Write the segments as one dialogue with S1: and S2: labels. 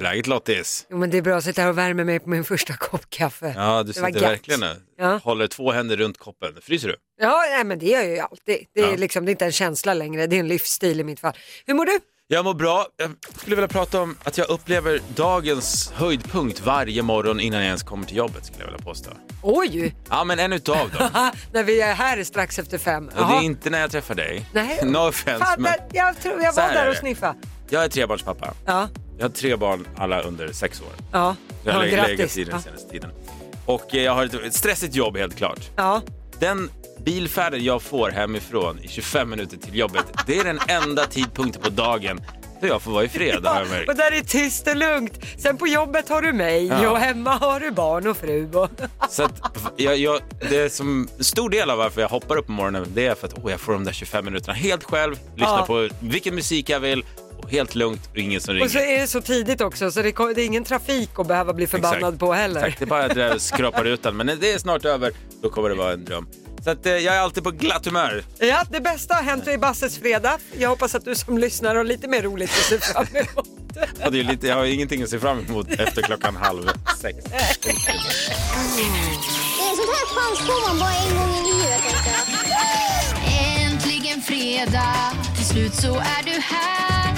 S1: läget Lottis?
S2: Jo, men det är bra, jag sitter här och värmer mig på min första kopp kaffe.
S1: Ja, du
S2: Det var
S1: sitter
S2: gött.
S1: verkligen nu.
S2: Ja.
S1: Håller två händer runt koppen. Fryser du?
S2: Ja, nej, men det gör jag ju alltid. Det är,
S1: Ja.
S2: liksom, det är inte en känsla längre, det är en livsstil i mitt fall. Hur mår du?
S1: Jag mår bra. Jag skulle vilja prata om att jag upplever dagens höjdpunkt varje morgon innan jag ens kommer till jobbet skulle jag vilja påstå.
S2: Oj,
S1: Ja, men en utav dem.
S2: ha, när vi är här strax efter fem.
S1: Och det
S2: Jaha.
S1: är inte när jag träffar dig.
S2: Nej.
S1: No offense,
S2: Fan,
S1: men
S2: jag, tror jag
S1: Så
S2: var
S1: här är
S2: där och
S1: det.
S2: sniffade.
S1: jag är trebarnspappa.
S2: Ja,
S1: Jag har tre barn, alla under sex år.
S2: ja.
S1: Jag har
S2: ja,
S1: legat
S2: grattis.
S1: i den
S2: Ja.
S1: senaste tiden. Och eh, jag har ett- ett stressigt jobb helt klart.
S2: Ja.
S1: Den bilfärden jag får hemifrån i 25 minuter till jobbet, det är den enda tidpunkten på dagen då jag får vara i fred. har jag märkt.
S2: Och där är det tyst och lugnt. Sen på jobbet har du mig
S1: Ja.
S2: och hemma har du barn och fru. Och...
S1: Så att jag, jag, det är som en stor del av varför jag hoppar upp på morgonen, det är för att oh, jag får de där 25 minuterna helt själv, lyssna
S2: Ja.
S1: på vilken musik jag vill, och helt lugnt och ingen som ringer.
S2: Och så är det så tidigt också så det, kom- det är ingen trafik att behöva bli förbannad
S1: Exakt.
S2: på heller.
S1: Exakt, det är bara att jag skrapar ut den, men när det är snart över, då kommer det vara en dröm. Så att, eh, jag är alltid på glatt humör.
S2: Ja, det bästa har hänt i Basses fredag. Jag hoppas att du som lyssnar har lite mer roligt att se fram emot.
S1: Och det är lite, jag har ingenting att se fram emot efter klockan halv sex.
S3: En sån här chans får man bara en gång i livet. tänkte jag.
S4: Äntligen fredag, till slut så är du här.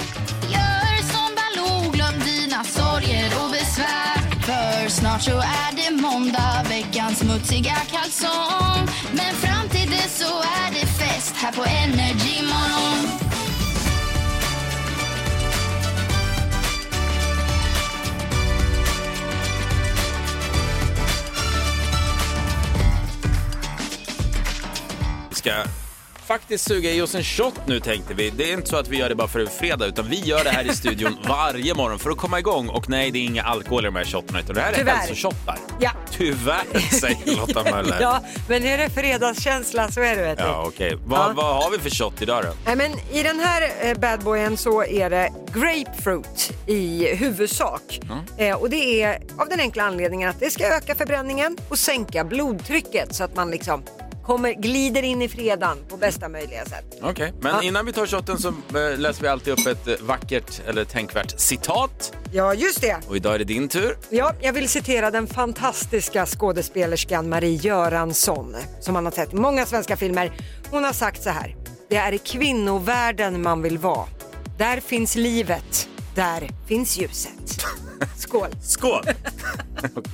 S4: Gör som Baloo, glöm dina sorger och besvär. För snart så är det måndag, veckans smutsiga kalsong. Men fram till dess så är det fest här på Energy Morgon.
S1: Vi ska faktiskt suga i oss en shot nu tänkte vi. Det är inte så att vi gör det bara för en fredag, utan vi gör det här i studion varje morgon för att komma igång. Och nej, det är inga alkohol i de här shotterna, utan det här är
S2: Tyvärr.
S1: hälsoshotar.
S2: Ja.
S1: Tyvärr, säger Lotta Möller.
S2: ja, men är det fredagskänsla så är det vet du.
S1: Ja, okej. Vad,
S2: Ja.
S1: vad har vi för shot idag då?
S2: Nej, men I den här eh, badboyen så är det grapefruit i huvudsak. Eh, och det är av den enkla anledningen att det ska öka förbränningen och sänka blodtrycket så att man liksom kommer, glider in i fredan på bästa möjliga sätt.
S1: Okej, men
S2: Ja.
S1: innan vi tar shotten så eh, läser vi alltid upp ett eh, vackert eller tänkvärt citat.
S2: Ja, just det.
S1: Och idag är det din tur.
S2: Ja, jag vill citera den fantastiska skådespelerskan Marie Göransson som man har sett i många svenska filmer. Hon har sagt så här. Det är i kvinnovärlden man vill vara. Där finns livet. Där finns ljuset. Skål!
S1: Skål! Okej.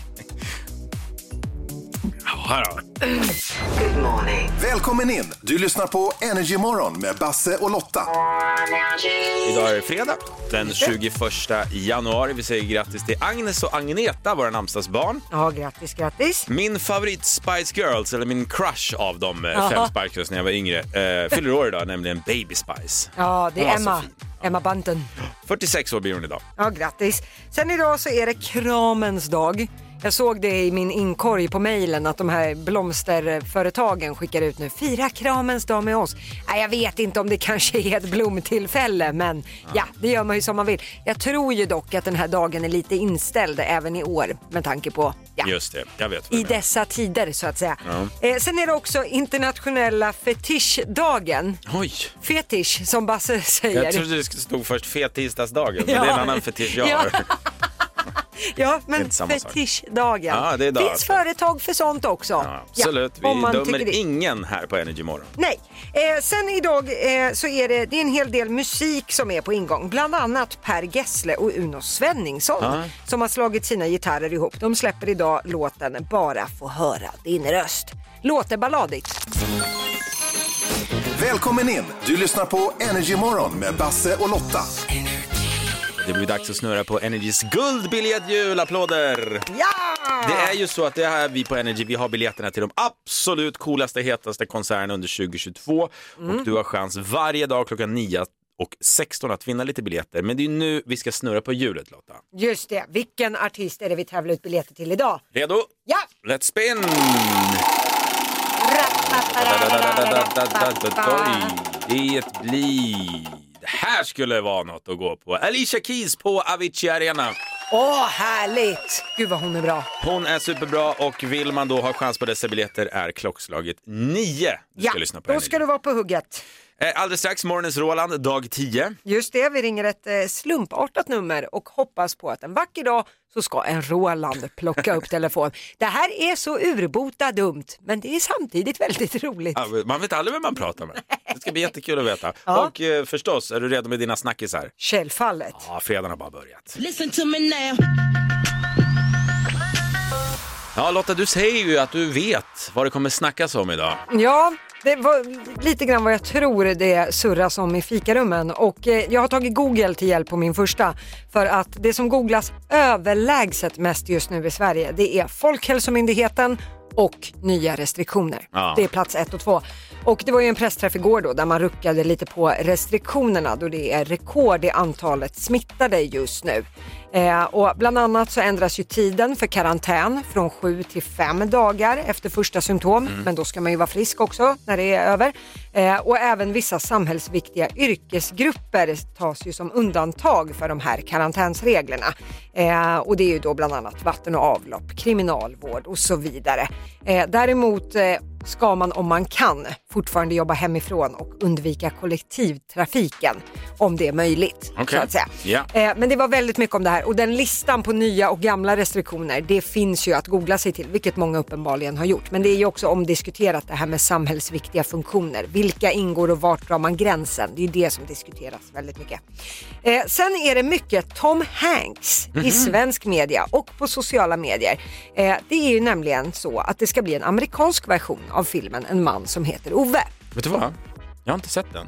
S1: Ja, då.
S5: Välkommen in! Du lyssnar på Energy Morgon med Basse och Lotta.
S1: Idag är det fredag den 21 januari. Vi säger grattis till Agnes och Agneta, våra namnsdagsbarn.
S2: Ja, grattis, grattis.
S1: Min favorit Spice Girls, eller min crush av de eh, fem Spice Girls när jag var yngre, eh, fyller år idag, nämligen Baby Spice.
S2: Ja, det
S1: Hon var
S2: är
S1: så
S2: Emma.
S1: fin.
S2: Emma Bunton.
S1: 46 år blir hon idag.
S2: Ja, grattis. Sen idag så är det kramens dag. Jag såg det i min inkorg på mejlen att de här blomsterföretagen skickar ut nu. Fira kramens dag med oss. Nej, jag vet inte om det kanske är ett blomtillfälle men ja, det gör man ju som man vill. Jag tror ju dock att den här dagen är lite inställd även i år med tanke på ja,
S1: Just det, jag vet vad
S2: i
S1: du menar.
S2: dessa tider så att säga. Eh, sen är det också internationella fetischdagen.
S1: Oj!
S2: Fetisch som Basse säger.
S1: Jag trodde det stod först fettisdagsdagen, men
S2: Ja.
S1: det är en annan fetisch jag
S2: Ja.
S1: har.
S2: Ja,
S1: är
S2: men
S1: inte samma sak.
S2: fetischdagen.
S1: Ja, det är idag,
S2: finns
S1: alltså.
S2: företag för sånt också.
S1: Ja, absolut,
S2: Ja, om
S1: vi
S2: man tycker
S1: dömer
S2: det.
S1: ingen här på Energy Morgon.
S2: Nej, eh, sen idag eh, så är det, det är en hel del musik som är på ingång. Bland annat Per Gessle och Uno Svenningsson
S1: Ja.
S2: som har slagit sina gitarrer ihop. De släpper idag låten Bara få höra din röst. Låter balladigt.
S5: Välkommen in! Du lyssnar på Energy Morgon med Basse och Lotta.
S1: Det blir dags att snurra på Energys guldbiljetthjul. Applåder!
S2: Ja!
S1: Det är ju så att det här vi på Energy, vi har biljetterna till de absolut coolaste, hetaste konserterna under 2022.
S2: Mm.
S1: Och du har chans varje dag klockan 9 och 16 att vinna lite biljetter. Men det är ju nu vi ska snurra på hjulet Lotta.
S2: Just det, vilken artist är det vi tävlar ut biljetter till idag?
S1: Redo?
S2: Ja!
S1: Let's spin! Det blir... Det här skulle vara något att gå på. Alicia Keys på Avicii Arena.
S2: Åh, härligt! Gud vad hon är bra.
S1: Hon är superbra och vill man då ha chans på dessa biljetter är klockslaget 9. Du ska lyssna på
S2: då
S1: Energy.
S2: ska du vara på hugget.
S1: Eh, Alldeles strax, morgonens Roland, dag 10.
S2: Just det, vi ringer ett eh, slumpartat nummer och hoppas på att en vacker dag så ska en Roland plocka upp telefon. Det här är så urbota dumt, men det är samtidigt väldigt roligt.
S1: Ja, Ah, Man vet aldrig vem man pratar med. Det ska bli jättekul att veta.
S2: Ja.
S1: Och eh, förstås, är du redo med dina snackisar?
S2: Källfallet.
S1: Ja, fredagen har bara börjat.
S6: Listen to me now.
S1: Ja, Lotta, du säger ju att du vet vad det kommer snackas om idag.
S2: Ja, det var lite grann vad jag tror det surras om i fikarummen och eh, jag har tagit Google till hjälp på min första för att det som googlas överlägset mest just nu i Sverige det är Folkhälsomyndigheten och nya restriktioner.
S1: Ja.
S2: Det är plats ett och två. Och det var ju en pressträff igår då där man ruckade lite på restriktionerna då det är rekord i antalet smittade just nu. Eh, och bland annat så ändras ju tiden för karantän från 7 till 5 dagar efter första symptom. Men då ska man ju vara frisk också när det är över. Eh, och även vissa samhällsviktiga yrkesgrupper tas ju som undantag för de här karantänsreglerna. Eh, och det är ju då bland annat vatten och avlopp, kriminalvård och så vidare. Eh, däremot eh, ska man om man kan fortfarande jobba hemifrån och undvika kollektivtrafiken om det är möjligt.
S1: Okej.
S2: Så att säga.
S1: Ja.
S2: Eh, Men det var väldigt mycket om det här och den listan på nya och gamla restriktioner det finns ju att googla sig till vilket många uppenbarligen har gjort. Men det är ju också omdiskuterat det här med samhällsviktiga funktioner. Vilka ingår och vart drar man gränsen? Det är ju det som diskuteras väldigt mycket. Eh, sen är det mycket Tom Hanks
S1: Mhm.
S2: i svensk media och på sociala medier. Eh, det är ju nämligen så att det ska bli en amerikansk version av filmen En man som heter Ove.
S1: Vet du vad? Jag har inte sett den.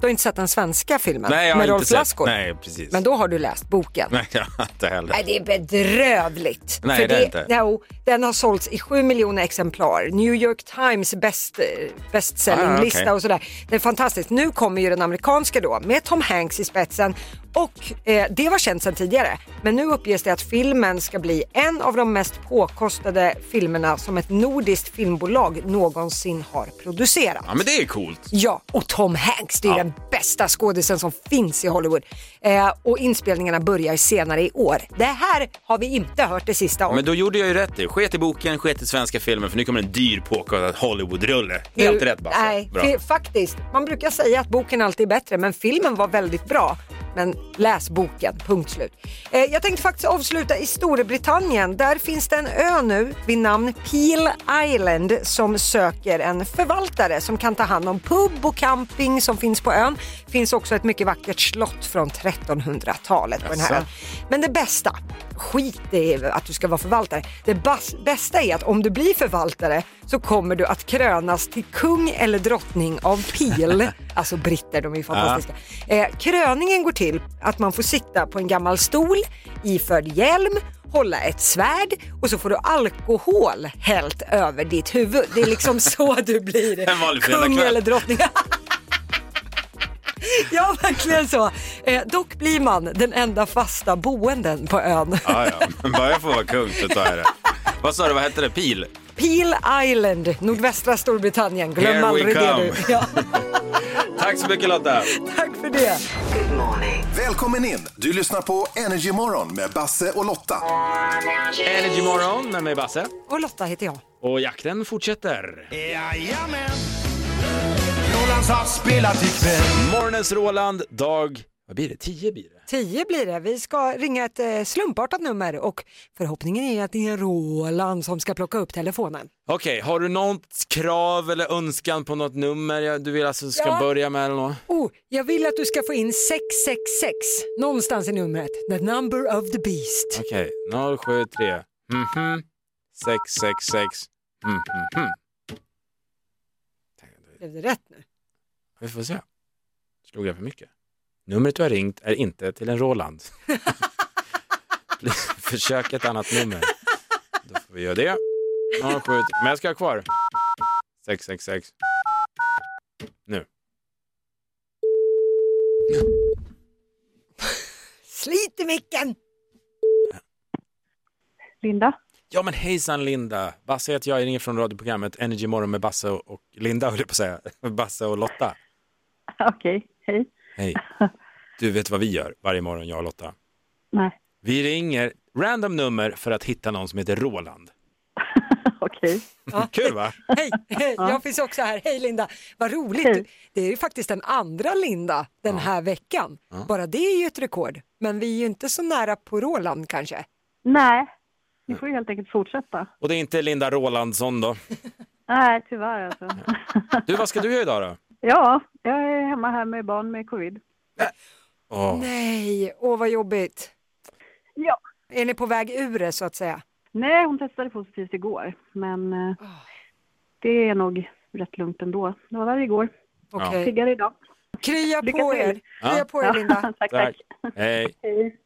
S2: Du har inte sett den svenska filmen
S1: Nej, jag har
S2: med
S1: inte
S2: Rolf
S1: sett.
S2: Lassgård?
S1: Nej, precis.
S2: Men då har du läst boken.
S1: Nej, jag har inte heller.
S2: Nej, det är bedrövligt.
S1: Nej,
S2: För
S1: det är inte.
S2: Jo, den har sålts i 7 miljoner exemplar. New York Times best, eh, bestsellinglista
S1: Ah, okej.
S2: och sådär. Det är fantastiskt. Nu kommer ju den amerikanska då med Tom Hanks i spetsen. Och eh, det var känt sedan tidigare. Men nu uppges det att filmen ska bli en av de mest påkostade filmerna som ett nordiskt filmbolag någonsin har producerat.
S1: Ja, men det är coolt.
S2: Ja, och Tom Hanks, det är ju den bästa skådisen som finns i Hollywood. Eh, och inspelningarna börjar senare i år. Det här har vi inte hört det sista om.
S1: Men då gjorde jag ju rätt i. Sket i boken, sket i svenska filmen för nu kommer en dyr påkostad Hollywood-rulle. Helt
S2: Du-
S1: rätt Basse.
S2: Nej,
S1: Bra.
S2: fi- faktiskt. Man brukar säga att boken alltid är bättre, men filmen var väldigt bra. Men läs boken, punkt slut. Eh, jag tänkte faktiskt avsluta i Storbritannien. Där finns det en ö nu vid namn Peel Island som söker en förvaltare som kan ta hand om pub och camping som finns på ön. finns också ett mycket vackert slott från 1300-talet på den här
S1: Jaså?
S2: ön. Men det bästa, skit i att du ska vara förvaltare. Det bas- bästa är att om du blir förvaltare så kommer du att krönas till kung eller drottning av Pil. Alltså britter, de är ju fantastiska. Eh, kröningen går till att man får sitta på en gammal stol iförd hjälm hålla ett svärd och så får du alkohol hällt över ditt huvud. Det är liksom så du blir
S1: En vanlig
S2: kung
S1: fredagkväll.
S2: eller drottning. Ja, verkligen så. Eh, dock blir man den enda fasta boenden på ön.
S1: Ja, Ah, ja. Men Bara jag får vara kung så tar jag det. Vad sa du, vad hette det? Pil?
S2: Peel Island, nordvästra Storbritannien. Glöm
S1: Here we
S2: aldrig
S1: come.
S2: det du. Ja,
S1: Tack så mycket Lotta.
S2: tack för det.
S5: Välkommen in! Du lyssnar på Energy Morgon med Basse och Lotta.
S1: Energy morgon med mig Basse.
S2: Och Lotta heter jag.
S1: Och jakten fortsätter.
S7: Jajamän! Rolands havs spelat ikväll.
S1: Morgonens Roland, dag... Vad blir det? 10 blir det.
S2: Tio blir det. Vi ska ringa ett eh, slumpartat nummer och förhoppningen är att det är Roland som ska plocka upp telefonen.
S1: Okej, har du något krav eller önskan på något nummer jag- du vill alltså ska
S2: Ja.
S1: börja med eller något?
S2: Oh, jag vill att du ska få in 666 någonstans i numret. The number of the beast.
S1: Okej, 073 mhm 666 mhm mhm.
S2: Blev det rätt nu?
S1: Vi får se. Slog jag för mycket? Numret du har ringt är inte till en Roland. Please, Försök ett annat nummer. Då får vi göra det. 07. Men jag ska ha kvar. 666. Nu.
S2: Slit i micken!
S8: Linda?
S1: Ja men hejsan Linda. Basse heter jag, jag ringer från radioprogrammet Energy Morgon med Basse och och Linda höll jag på att säga. Basse och Lotta.
S8: Okej, hej.
S1: Hej. Du vet vad vi gör varje morgon jag och Lotta?
S8: Nej.
S1: Vi ringer random nummer för att hitta någon som heter Roland.
S8: Okej.
S1: Kul va?
S2: Hej, jag finns också här. Hej Linda, vad roligt.
S8: Hej.
S2: Det är ju faktiskt den andra Linda den här veckan. Bara det är ju ett rekord. Men vi är ju inte så nära på Roland kanske.
S8: Nej, vi får ju helt enkelt fortsätta.
S1: Och det är inte Linda Rolandsson då.
S8: Nej, tyvärr alltså.
S1: Du, vad ska du göra idag då?
S8: Ja, jag är hemma här med barn med covid.
S1: Åh,
S2: Nej, åh vad jobbigt.
S8: Ja.
S2: Är ni på väg ur det så att säga?
S8: Nej, hon testade positivt igår, men eh, det är nog rätt lugnt ändå. Det var värre igår,
S2: Okej.
S8: piggare idag.
S2: Krya
S8: Lycka
S2: på
S8: till.
S2: er. Krya
S1: Ja.
S2: på er Linda.
S8: tack, tack.
S1: tack. Hej.
S8: Hej.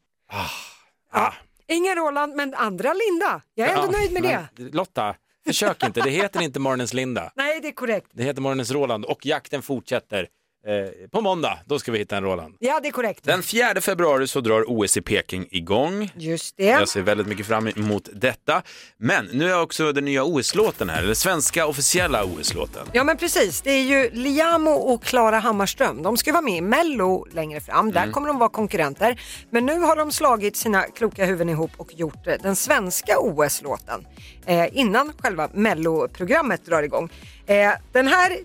S1: Ah.
S2: Ingen Roland, men andra Linda. Jag är ändå
S1: Ja,
S2: nöjd med det.
S1: men Lotta, försök inte. Det heter inte Morgonens Linda.
S2: Nej, det är korrekt.
S1: Det heter Morgonens Roland och jakten fortsätter. Eh, på måndag, då ska vi hitta en Roland.
S2: Ja, det är korrekt.
S1: Den 4 februari så drar OS i Peking igång.
S2: Just
S1: Jag
S2: det.
S1: ser väldigt mycket fram emot detta. Men nu är också den nya OS-låten här, eller svenska officiella OS-låten.
S2: Ja men precis, det är ju Liamo och Klara Hammarström. De ska vara med i Mello längre fram, där kommer de vara konkurrenter. Men nu har de slagit sina kloka huvuden ihop och gjort eh, den svenska OS-låten eh, innan själva Mello-programmet drar igång. Eh, den här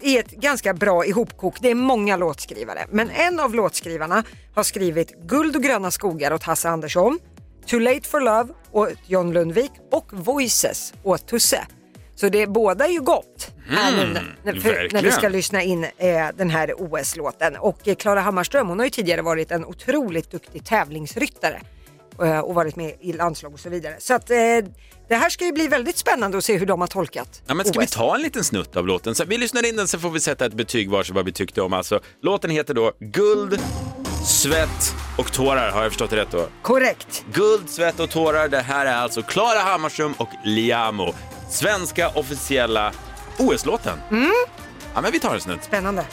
S2: är ett ganska bra ihopkok, det är många låtskrivare. Men en av låtskrivarna har skrivit Guld och gröna skogar åt Hasse Andersson, Too late for love åt John Lundvik och Voices åt Tusse. Så det båda är ju gott här nu när, för, när vi
S1: verkligen.
S2: ska lyssna in eh, den här OS-låten. Och eh, Klara Hammarström hon har ju tidigare varit en otroligt duktig tävlingsryttare eh, och varit med i landslag och så vidare. Så att, eh, det här ska ju bli väldigt spännande att se hur de har tolkat
S1: Ja, men ska vi
S2: OS.
S1: ta en liten snutt av låten? Så vi lyssnar in den så får vi sätta ett betyg vars vad vi tyckte om. Alltså, låten heter då Guld, svett och tårar. Har jag förstått det rätt då?
S2: Korrekt.
S1: Guld, svett och tårar. Det här är alltså Klara Hammarström och Liamo. Svenska officiella OS-låten.
S2: Mm.
S1: Ja, men vi tar en snutt.
S2: Spännande.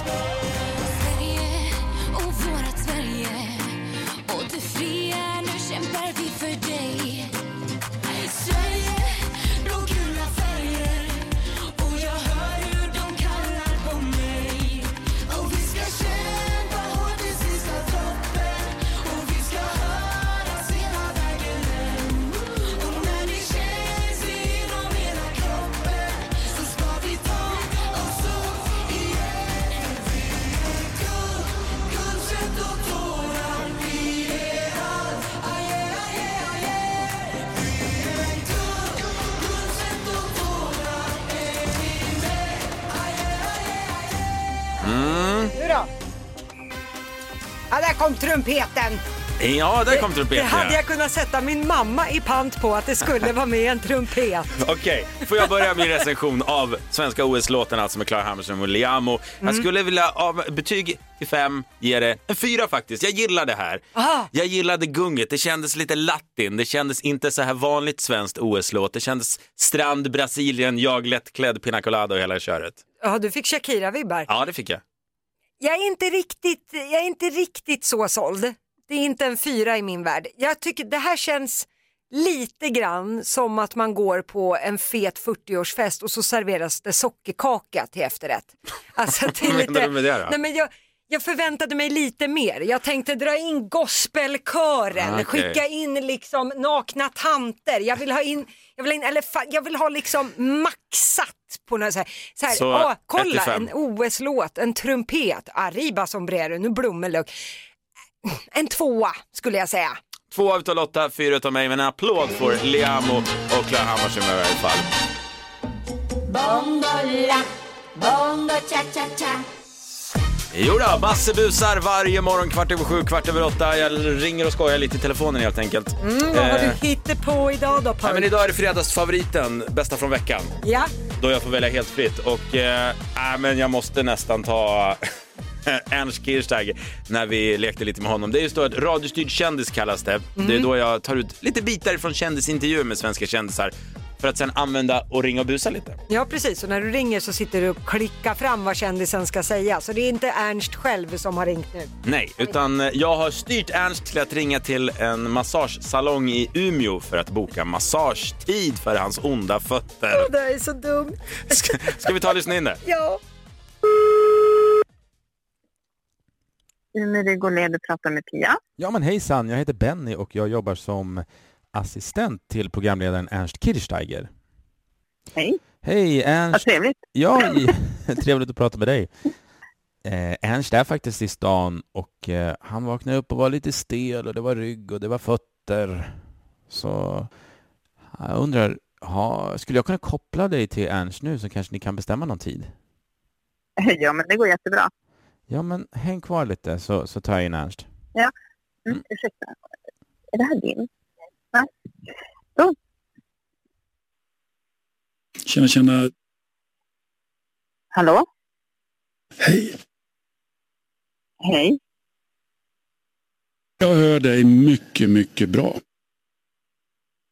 S4: Sverige och vårat Sverige och det fria, nu kämpar vi för dig Sverige, blågula färger och jag hör hur de kallar på mig och vi ska kämpa hårt till sista droppen och vi ska höras hela vägen hem och när det känns inom hela kroppen så ska vi ta oss upp igen
S1: Mm.
S2: Nu då? Ja, där kom trumpeten.
S1: Ja, där kom
S2: Det
S1: trumpeten.
S2: hade
S1: ja.
S2: jag kunnat sätta min mamma i pant på att det skulle vara med en trumpet.
S1: Okej, får jag börja min recension av svenska OS-låten alltså med Klara Hammarström och Liamo. Jag skulle vilja av betyg till fem ge det en fyra faktiskt. Jag gillar det här.
S2: Ah.
S1: Jag gillade gunget. Det kändes lite latin. Det kändes inte så här vanligt svenskt OS-låt. Det kändes strand, Brasilien, jag lättklädd, pina colada och hela köret.
S2: Ja, du fick Shakira-vibbar.
S1: Ja, det fick jag.
S2: Jag är inte riktigt, jag är inte riktigt så såld. Det är inte en fyra i min värld. Jag tycker det här känns lite grann som att man går på en fet 40-årsfest och så serveras det sockerkaka till efterrätt. Alltså, det är
S1: Vad menar du med det då?
S2: Nej, men jag, jag förväntade mig lite mer. Jag tänkte dra in gospelkören,
S1: Ah, okej.
S2: skicka in liksom nakna tanter. Jag vill ha in, jag vill ha, in elefant, jag vill ha liksom maxat på något så här. Så här
S1: Så,
S2: ah, kolla,
S1: 1-5.
S2: en OS-låt, en trumpet, Arriba sombrero, nu blommeluck. En tvåa skulle jag säga.
S1: Två utav Lotta, fyra utav mig, men en applåd för Liamo och Klara Hammarström i varje fall.
S3: Bondola, bongo cha-cha-cha.
S1: Jo då, Basse busar varje morgon kvart över sju, kvart över åtta. Jag ringer och skojar lite i telefonen helt enkelt.
S2: Mm, vad har
S1: Eh,
S2: du hittat på idag då
S1: Nej, men
S2: Paul?
S1: idag är det fredagsfavoriten, bästa från veckan,
S2: Ja,
S1: då jag får välja helt fritt. Och eh, äh, men jag måste nästan ta Ernst Kirchsteiger när vi lekte lite med honom. Det är just då att radiostyrd kändis kallas det.
S2: Mm.
S1: Det är då jag tar ut lite bitar från kändisintervjuer med svenska kändisar för att sen använda och ringa och busa lite.
S2: ja precis. Och när du ringer så sitter du och klickar fram vad kändisen ska säga. Så det är inte Ernst själv som har ringt nu.
S1: Nej, utan eh, jag har styrt Ernst till att ringa till en massagesalong i Umeå för att boka massagetid för hans onda fötter.
S2: Det är så dumt.
S1: Ska, ska vi ta och lyssna in det?
S2: Ja.
S8: Umeå, det går ner, du pratar med Pia.
S6: Ja men hejsan, jag heter Benny och jag jobbar som
S1: assistent till programledaren Ernst Kirchsteiger.
S9: Hej.
S1: Hej
S9: Vad
S1: Ernst!
S9: trevligt.
S1: Ja, i- trevligt att prata med dig. Eh, Ernst är faktiskt i stan och eh, han vaknade upp och var lite stel och det var rygg och det var fötter. Så jag undrar, ha, skulle jag kunna koppla dig till Ernst nu så kanske ni kan bestämma någon tid?
S9: Ja, men det går jättebra.
S1: Ja, men häng kvar lite så, så tar jag in Ernst.
S9: Mm, Ursäkta. Är det här din? Nej. Så,
S10: Tjena, tjena.
S9: hallå?
S10: Hej.
S9: Hej.
S10: Jag hör dig mycket, mycket bra.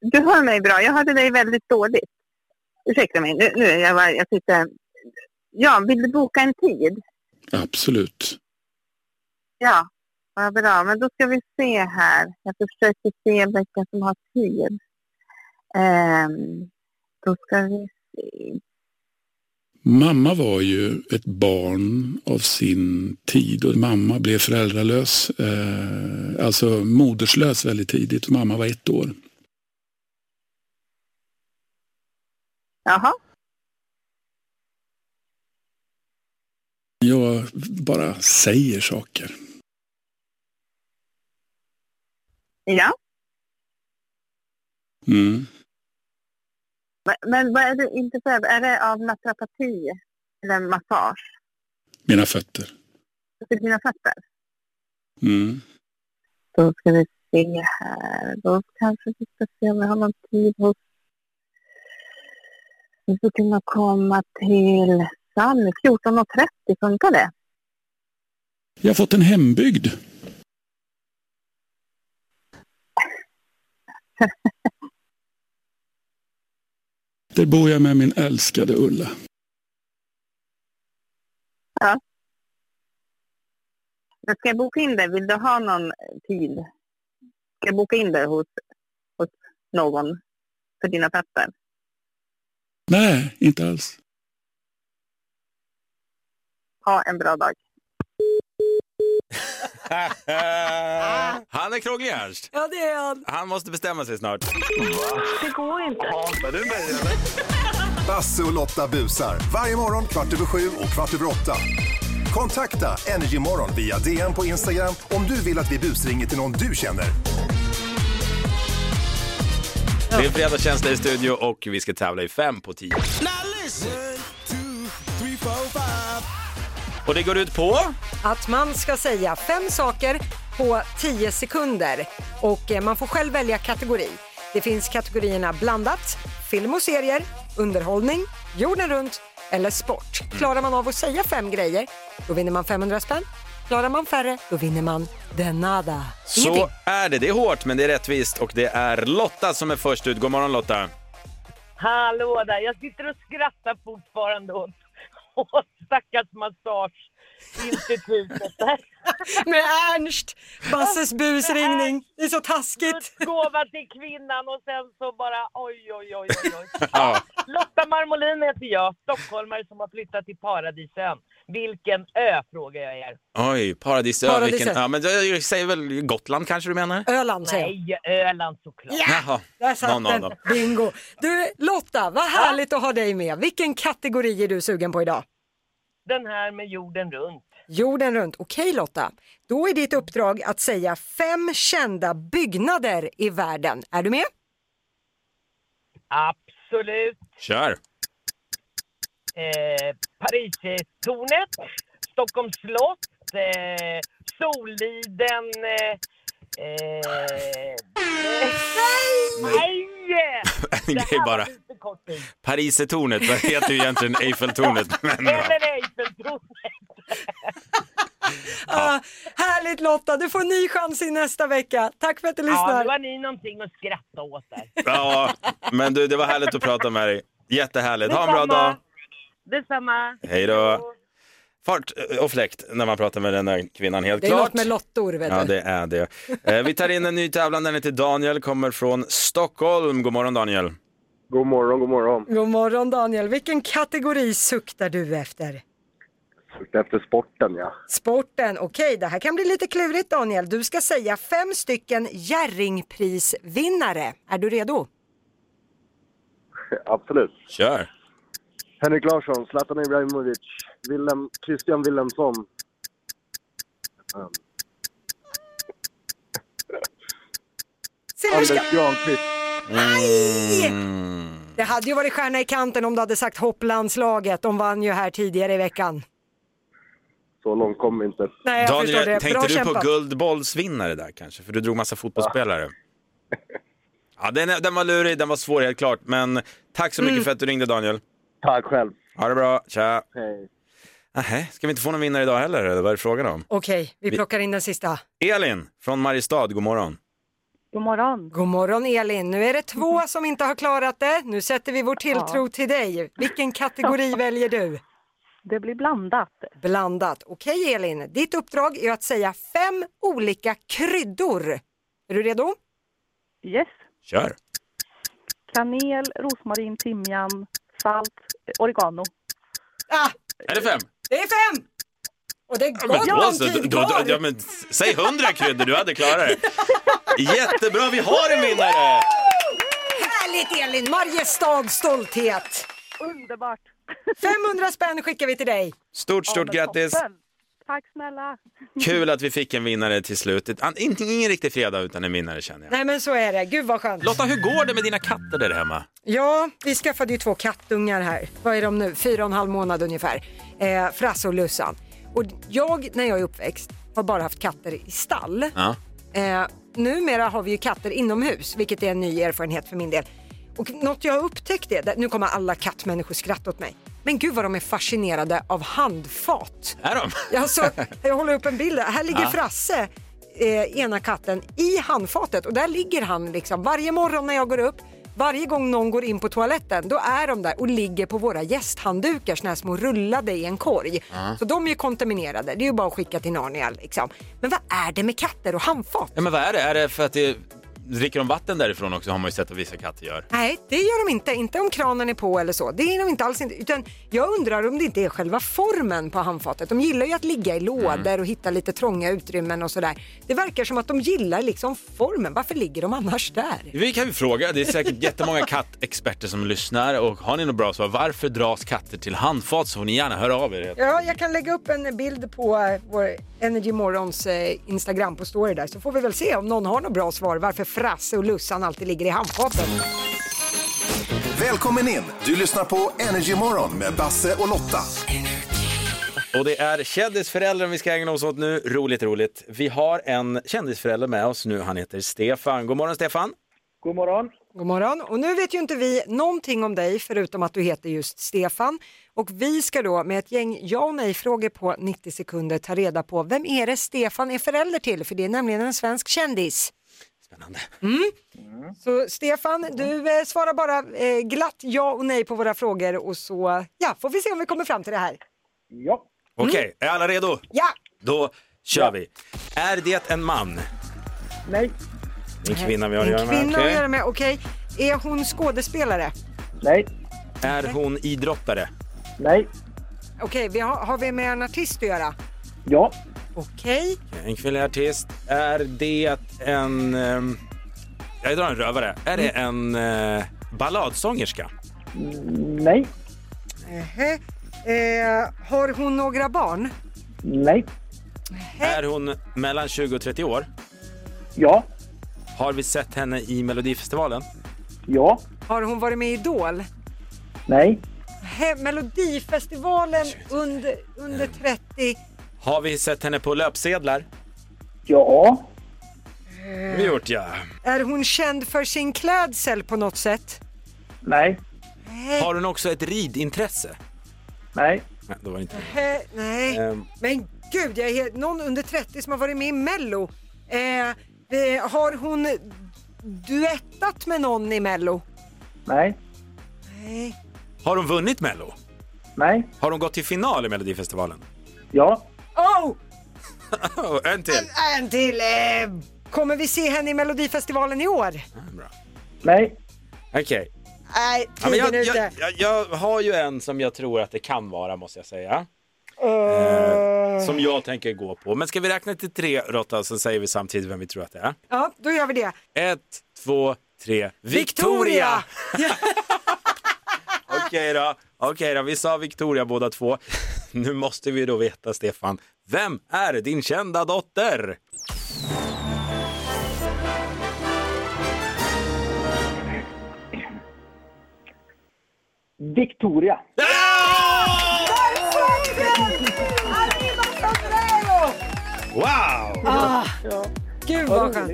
S9: Du hör mig bra. Jag hörde dig väldigt dåligt. Ursäkta mig. Nu, nu är jag, bara, jag sitter... Ja, vill du boka en tid?
S10: Absolut.
S9: Ja, vad bra. Men då ska vi se här. Jag försöker se vilka som har tid. Ehm, då ska vi se.
S10: Mamma var ju ett barn av sin tid och mamma blev föräldralös, eh, alltså moderslös väldigt tidigt. Mamma var ett år.
S9: Jaha.
S10: Jag bara säger saker.
S9: Ja.
S10: Mm.
S9: Men- Men vad är du intresserad av? Är det av naprapati eller massage?
S10: Mina fötter.
S9: För dina fötter?
S10: Mm.
S9: Då ska vi se här. Då kanske vi ska se om vi har någon tid hos... Vi skulle kunna komma till Sanne. 14.30, funkar det?
S10: Jag har fått en hembygd. Där bor jag med min älskade Ulla.
S9: Men ska jag boka in det? Vill du ha någon tid? Ska jag boka in det hos, hos någon för dina fötter?
S10: Nej, inte alls.
S9: Ha en bra dag.
S1: Han är krånglig Ernst.
S2: Ja, det är han.
S1: Han måste bestämma sig snart.
S11: Det går inte.
S5: Basse och Lotta busar. Varje morgon kvart över sju och kvart över åtta. Kontakta Energymorgon via DM på Instagram om du vill att vi busringer till någon du känner.
S1: Det är fredagstjänst i studio och vi ska tävla i fem på tio. Och det går ut på?
S2: Att man ska säga fem saker på 10 sekunder och eh, man får själv välja kategori. Det finns kategorierna blandat, film och serier, underhållning, jorden runt eller sport. Klarar man av att säga fem grejer, då vinner man 500 spänn. Klarar man färre, då vinner man den nada. Ingenting.
S1: Så är det. Det är hårt men det är rättvist och det är Lotta som är först ut. God morgon Lotta.
S12: Hallå där! Jag sitter och skrattar fortfarande åt, åt stackars massageinstitutet. där.
S2: Med Ernst, Basses busringning. Det är så taskigt.
S12: Gåva till kvinnan och sen så bara oj, oj, oj, oj. oj.
S1: Ja.
S12: Lotta Marmolin heter jag, stockholmare som har flyttat till Paradisön. Vilken ö, frågar jag er.
S1: Oj, paradisö.
S2: Paradisö.
S1: Vilken... Ja, men jag säger väl Gotland kanske du menar?
S2: Öland säger jag.
S12: Nej, Öland såklart.
S1: Jaha,
S2: Där satt
S1: någon av
S2: den.
S1: dem.
S2: Bingo. Du Lotta, vad härligt att ha dig med. Vilken kategori är du sugen på idag?
S12: Den här med jorden runt.
S2: Jorden runt. Okej Lotta, då är ditt uppdrag att säga fem kända byggnader i världen. Är du med?
S12: Absolut.
S1: Kör.
S12: Eh, Paristornet, Stockholms slott, eh, Soliden... Eh, eh, nej!
S1: En
S12: Det
S1: grej
S12: här
S1: bara.
S12: var lite kort tid.
S1: Parisertornet, vad heter ju egentligen Eiffeltornet? Men, ja.
S12: Eller Eiffeltornet.
S2: Ah, härligt Lotta, du får en ny chans i nästa vecka. Tack för att du
S12: Ja,
S2: lyssnar.
S12: nu var ni någonting att skratta åt där.
S1: ja, men du, det var härligt att prata med dig. Jättehärligt. Ha en bra
S12: Detsamma.
S1: dag.
S12: Detsamma.
S1: Hej då. Fart och fläkt när man pratar med den där kvinnan, helt
S2: Det är
S1: klart.
S2: något med lottor vet
S1: Ja,
S2: du.
S1: det är det. Eh, Vi tar in en ny tävlande, den heter Daniel, kommer från Stockholm. God morgon Daniel.
S13: God morgon, god morgon.
S2: God morgon Daniel, vilken kategori suktar du efter?
S14: sökte efter sporten, ja.
S2: Sporten, okej det här kan bli lite klurigt Daniel. Du ska säga fem stycken Jerringprisvinnare. Är du redo?
S14: Absolut.
S1: Kör!
S14: Henrik Larsson, Zlatan Ibrahimovic, Willem, Christian Wilhelmsson. Ehm, Anders Granqvist.
S1: Mm.
S2: Det hade ju varit stjärna i kanten om du hade sagt hopplandslaget. De vann ju här tidigare i veckan.
S14: Så långt kom vi inte.
S2: Nej, jag förstår
S1: Daniel,
S2: det.
S1: tänkte
S2: Bra
S1: du
S2: kämpat.
S1: på guldbollsvinnare där kanske? För du drog massa fotbollsspelare. Ja, den, är- den var lurig, den var svår helt klart. Men tack så mycket
S2: Mm.
S1: för att du ringde Daniel.
S14: Tack själv.
S1: Ha det bra, tja.
S14: Hej.
S1: Nähä, ska vi inte få någon vinnare idag heller eller vad är det frågan om?
S2: Okej, vi
S1: Vi-
S2: plockar in den sista.
S1: Elin från Mariestad, god morgon.
S2: God morgon. God morgon Elin. Nu är det två som inte har klarat det. Nu sätter vi vår tilltro till dig. Vilken kategori väljer du? Det blir blandat. Blandat. Okej Elin, ditt uppdrag är att säga fem olika kryddor. Är du redo?
S8: Yes.
S1: Kör.
S8: Kanel, rosmarin, timjan, salt, eh, oregano.
S2: Ah,
S1: Är det fem?
S2: det är fem! Och det
S1: Ja, men,
S2: går
S1: då
S2: lång
S1: så,
S2: tid
S1: då, då,
S2: kvar.
S1: ja, men, s- säg hundra kryddor, du hade klarat det. Jättebra, vi har en vinnare!
S2: Härligt Elin, Mariestads stolthet.
S8: Underbart!
S2: 500 spänn skickar vi till dig.
S1: Stort, stort grattis.
S8: Tack snälla!
S1: Kul att vi fick en vinnare till slutet. An- Inte ingen riktig fredag utan en vinnare känner jag.
S2: Nej men så är det, gud vad skönt.
S1: Lotta, hur går det med dina katter där hemma?
S2: Ja, vi skaffade ju två kattungar här. Vad är de nu? Fyra och en halv månad ungefär. Eh, Frasse och Lussan. Och jag, när jag är uppväxt, har bara haft katter i stall.
S1: Ja.
S2: Eh, numera har vi ju katter inomhus, vilket är en ny erfarenhet för min del. Och något jag upptäckte, är- nu kommer alla kattmänniskor skratta åt mig, men gud vad de är fascinerade av handfat.
S1: Är de?
S2: Jag, så, jag håller upp en bild. där. Här ligger
S1: Ja.
S2: Frasse, eh, ena katten, i handfatet. Och där ligger han liksom varje morgon när jag går upp. Varje gång någon går in på toaletten, då är de där och ligger på våra gästhanddukar, såna här små rullade i en korg.
S1: Ja.
S2: Så de är ju kontaminerade, det är ju bara att skicka till Narnia liksom. Men vad är det med katter och handfat?
S1: Ja, men vad är det? Är det för att det... Dricker de vatten därifrån också har man ju sett att vissa katter gör.
S2: Nej, det gör de inte. Inte om kranen är på eller så. Det är de inte alls inte. Utan jag undrar om det inte är själva formen på handfatet. De gillar ju att ligga i lådor
S1: Mm.
S2: och hitta lite trånga utrymmen och sådär. Det verkar som att de gillar liksom formen. Varför ligger de annars där?
S1: Vi kan ju fråga, det är säkert jättemånga kattexperter som lyssnar och har ni något bra svar, varför dras katter till handfat så får ni gärna höra av er.
S2: Ja, jag kan lägga upp en bild på eh, vår Energy Morgons eh, Instagram på story där så får vi väl se om någon har något bra svar varför Frasse och Lussan alltid ligger i handfatet.
S5: Välkommen in! Du lyssnar på Energy Morgon med Basse och Lotta.
S1: Och det är kändisföräldern vi ska ägna oss åt nu, roligt roligt. Vi har en kändisförälder med oss nu, han heter Stefan. God morgon Stefan!
S14: God morgon!
S2: God morgon. Och nu vet ju inte vi någonting om dig förutom att du heter just Stefan. Och vi ska då med ett gäng ja och nej-frågor på 90 sekunder ta reda på vem är det Stefan är förälder till? För det är nämligen en svensk kändis. Spännande. Mm. Så Stefan, du eh, svarar bara eh, glatt ja och nej på våra frågor och så ja, får vi se om vi kommer fram till det här.
S14: Ja.
S1: Okej, är alla redo?
S2: Ja!
S1: Då kör vi. Är det en man?
S14: Nej.
S1: En kvinna vi har att
S2: En
S1: göra med.
S2: kvinna att
S1: okej.
S2: göra med, okej. Är hon skådespelare?
S14: Nej.
S1: Är hon idrottare?
S14: Nej.
S2: Okej, vi har, har vi med en artist att göra?
S14: Ja.
S2: Okej.
S1: En kvinnlig artist. Är det en... ehm, Jag drar en rövare. Är det en eh, balladsångerska?
S14: Nej.
S2: Nähä. Eh, har hon några barn?
S14: Nej.
S1: Är hon mellan 20 och 30 år?
S14: Ja.
S1: Har vi sett henne i Melodifestivalen?
S14: Ja.
S2: Har hon varit med i Idol?
S14: Nej.
S2: Hä, Melodifestivalen under, under 30.
S1: Har vi sett henne på löpsedlar?
S14: Ja.
S1: Vi gjort ja.
S2: Är hon känd för sin klädsel på något sätt?
S14: Nej.
S1: Har hon också ett ridintresse?
S14: Nej.
S1: Nej, då var det inte.
S2: Hä, nej.
S14: Eh.
S1: Ehm.
S2: Men gud, jag är helt, någon under 30 som har varit med i Mello. Eh, eh, har hon duettat med någon i Mello?
S14: Nej.
S2: Nej.
S1: Har hon vunnit Mello?
S14: Nej.
S1: Har hon gått till final i Melodifestivalen?
S14: Ja.
S2: Oh!
S1: en till.
S2: En till! Eh, kommer vi se henne i Melodifestivalen i år?
S14: Nej.
S1: Okej.
S2: Nej,
S1: Ja, men
S2: tiden
S1: jag,
S2: är ute.
S1: jag, jag, jag har ju en som jag tror att det kan vara, måste jag säga. Eh, som jag tänker gå på. Men ska vi räkna till tre Rotta så säger vi samtidigt vem vi tror att det är.
S2: Ja, då gör vi det.
S1: Ett, två, tre.
S2: Victoria!
S1: Victoria! Okej då. Okej då, vi sa Victoria båda två. Nu måste vi då veta Stefan, vem är din kända dotter?
S14: Victoria.
S1: Wow!
S2: Ah, gud vad skönt.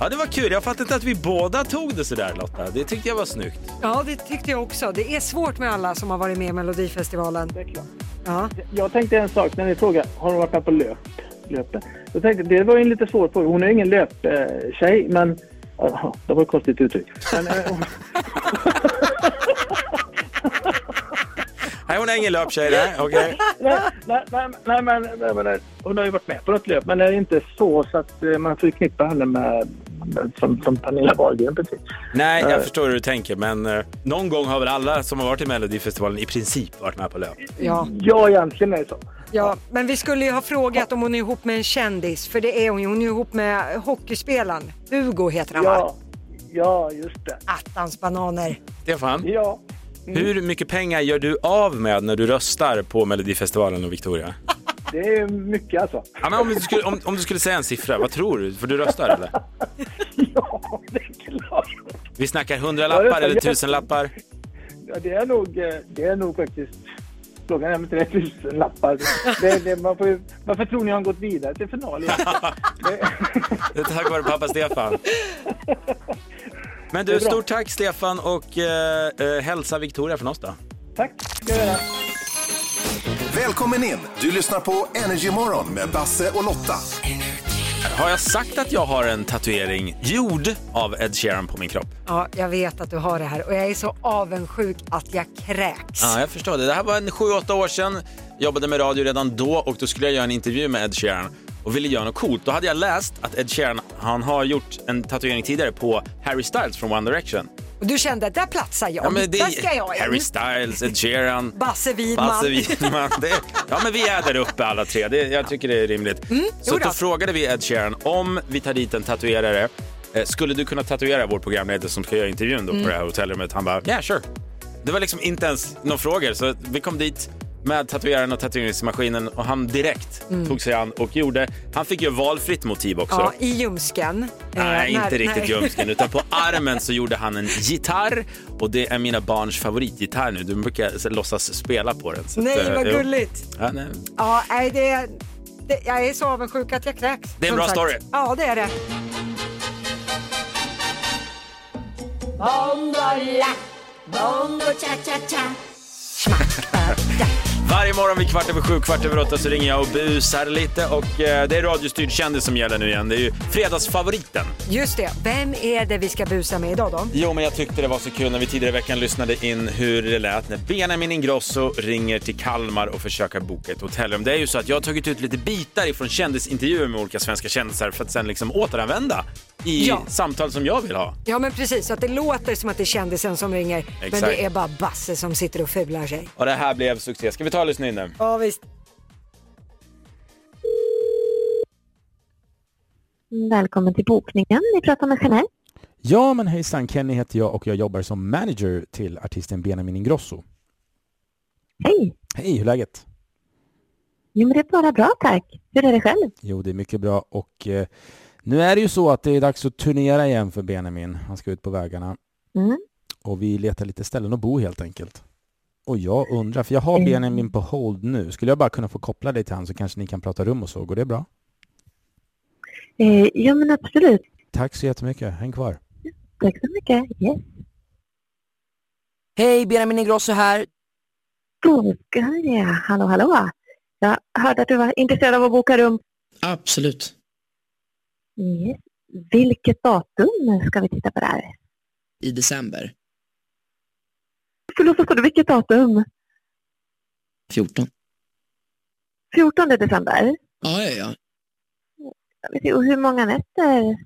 S1: Ja, det var kul. Jag fattar inte att vi båda tog det sådär Lotta. Det tyckte jag var snyggt.
S2: Ja, det tyckte jag också. Det är svårt med alla som har varit med i Melodifestivalen. Det är klart. Ja.
S14: Jag tänkte en sak när ni frågade, har hon varit med på löp? löpet? Jag tänkte, det var ju en lite svår fråga. Hon är ju ingen löptjej, men... Ja, Det var ett konstigt uttryck. Men, eh,
S1: Nej, hon är ingen löptjej. nej. Okej.
S14: nej, nej, nej, nej, men, nej, men, nej. hon har ju varit med på något löp, men det är inte så, så att eh, man förknippar henne med, med som, som Pernilla Wahlgren precis.
S1: Nej, jag förstår hur du tänker, men eh, någon gång har väl alla som har varit i Melodifestivalen i princip varit med på löp?
S2: Ja.
S14: ja, egentligen är det så.
S2: Ja, men vi skulle ju ha frågat om hon är ihop med en kändis, för det är hon ju. Hon är ju ihop med hockeyspelaren. Hugo heter han va?
S14: Ja, ja just det.
S2: Attans bananer.
S1: Stefan?
S14: Ja.
S1: Hur mycket pengar gör du av med när du röstar på Melodifestivalen och Victoria?
S14: Det är mycket alltså.
S1: Ja, men om, du skulle, om, om du skulle säga en siffra, vad tror du? För du röstar eller? Ja, det är klart. Vi snackar hundralappar eller tusenlappar?
S14: Ja, det, är nog, eh, det är nog faktiskt... Frågan är om inte det är tusenlappar. Det, det, man får ju, varför tror ni har gått vidare till final? egentligen?
S1: Det är Tack vare pappa Stefan. Men
S14: Det
S1: du,
S14: är bra.
S1: stort tack Stefan och eh, eh, hälsa Victoria från oss då.
S5: Välkommen in! Du lyssnar på Energymorgon med Basse och Lotta.
S1: Har jag sagt att jag har en tatuering gjord av Ed Sheeran på min kropp?
S2: Ja, jag vet att du har det här och jag är så avundsjuk att jag kräks.
S1: Ja, jag förstår det. Det här var en 7-8 år sedan. Jobbade med radio redan då och då skulle jag göra en intervju med Ed Sheeran och ville göra något coolt. Då hade jag läst att Ed Sheeran, han har gjort en tatuering tidigare på Harry Styles från One Direction.
S2: Och du kände att där platsar jag.
S1: men det-
S2: Där ska jag in.
S1: Harry Styles, Ed Sheeran.
S2: Basse Widman.
S1: Basse Widman. Det, ja, men vi är där uppe alla tre. Det, jag tycker det är rimligt. så
S2: jodå.
S1: då frågade vi Ed Sheeran om vi tar dit en tatuerare. eh, Skulle du kunna tatuera vår programledare som ska göra intervjun då
S7: Mm.
S1: på det här hotellrummet? Han bara, yeah sure. Det var liksom inte ens några frågor. Så vi kom dit med tatueraren och tatueringsmaskinen och han direkt
S2: Mm.
S1: tog sig an och gjorde. Han fick ju valfritt motiv också.
S2: Ja, i ljumsken. Eh,
S1: Nej,
S2: när-
S1: inte riktigt
S2: nej.
S1: ljumsken. Utan på armen så gjorde han en gitarr och det är mina barns favoritgitarr nu. De brukar så, låtsas spela på den. Så
S2: Nej,
S1: eh,
S2: vad
S1: jo.
S2: gulligt.
S1: Ja, nej.
S2: Ja, nej, det, det, jag är så avundsjuk att jag kräks.
S1: Det är en
S2: som
S1: bra
S2: sagt.
S1: story.
S2: Ja, det är det.
S3: Bondola, bongo cha cha cha.
S1: Varje morgon vid kvart över sju, kvart över åtta så ringer jag och busar lite och eh, det är radiostyrd kändis som gäller nu igen. Det är ju fredagsfavoriten.
S2: Just det. Vem är det vi ska busa med idag då?
S1: Jo, men jag tyckte det var så kul när vi tidigare i veckan lyssnade in hur det lät när Benjamin Ingrosso ringer till Kalmar och försöker boka ett hotellrum. Det är ju så att jag har tagit ut lite bitar ifrån kändisintervjuer med olika svenska kändisar för att sen liksom återanvända i
S2: Ja.
S1: samtal som jag vill ha.
S2: Ja, men precis. Så att det låter som att det är kändisen som ringer. Men
S1: Exakt.
S2: det är bara Basse som sitter och fular sig.
S1: Och det här blev succé. Ska vi ta och lyssna in nu?
S2: Ja, visst.
S9: Välkommen till bokningen. Ni pratar med Jeanette.
S15: Ja, men hejsan. Kenny heter jag och jag jobbar som manager till artisten Benjamin Ingrosso.
S9: Hej!
S15: Hej, hur är läget?
S9: Jo, men det är bara bra tack. Hur är det själv?
S15: Jo, det är mycket bra och eh, nu är det ju så att det är dags att turnera igen för Benjamin. Han ska ut på vägarna
S9: Mm.
S15: och vi letar lite ställen att bo helt enkelt. Och jag undrar, för jag har
S2: Mm.
S15: Benjamin på hold nu. Skulle jag bara kunna få koppla dig till han så kanske ni kan prata rum och så? Går det bra?
S9: Eh, jo, men absolut.
S15: Tack så jättemycket. Häng kvar.
S9: Tack så mycket. Yes.
S16: Hej, Benjamin Ingrosso här.
S9: Bokar ja. Hallå, hallå. Jag hörde att du var intresserad av att boka rum.
S16: Absolut.
S9: Yes. Vilket datum ska vi titta på där?
S16: I december.
S9: Förlåt, vad sa du? Vilket datum?
S16: 14.
S9: 14 december?
S16: Ja, ja, ja.
S9: Ska vi se, Och hur många nätter?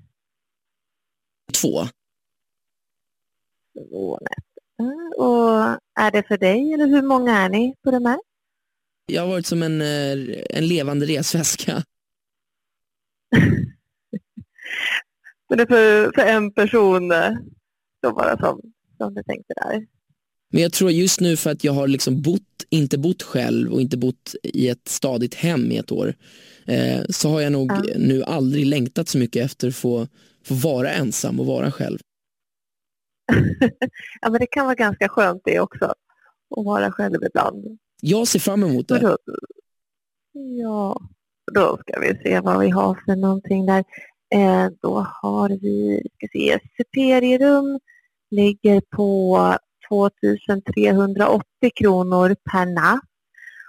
S16: Två.
S9: Mm, Två nätter. Och är det för dig eller hur många är ni på de här?
S16: Jag har varit som en, eh, en levande resväska.
S9: Men det är för, för en person eh, då bara som, som du tänkte där.
S16: Men jag tror just nu för att jag har liksom bott, inte bott själv och inte bott i ett stadigt hem i ett år eh, så har jag nog
S9: Ja.
S16: nu aldrig längtat så mycket efter att få, få vara ensam och vara själv.
S9: Ja, men det kan vara ganska skönt det också. Att vara själv ibland.
S16: Jag ser fram emot
S9: Och
S16: det.
S9: då, ja, då ska vi se vad vi har för någonting där. Eh, då har vi, ska se, superierum ligger på 2380 kronor per natt.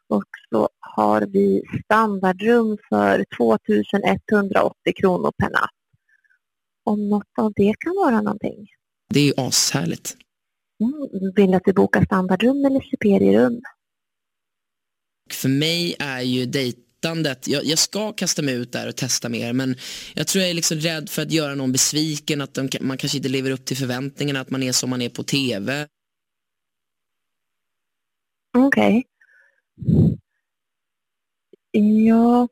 S9: Och så har vi standardrum för 2180 kronor per natt. Om något av det kan vara någonting.
S16: Det är ju ashärligt.
S9: Mm, vill du att vi bokar standardrum eller superierum?
S16: För mig är ju dejtandet, jag, jag ska kasta mig ut där och testa mer men jag tror jag är liksom rädd för att göra någon besviken, att de, man kanske inte lever upp till förväntningarna, att man är som man är på tv.
S9: Okej. Ja.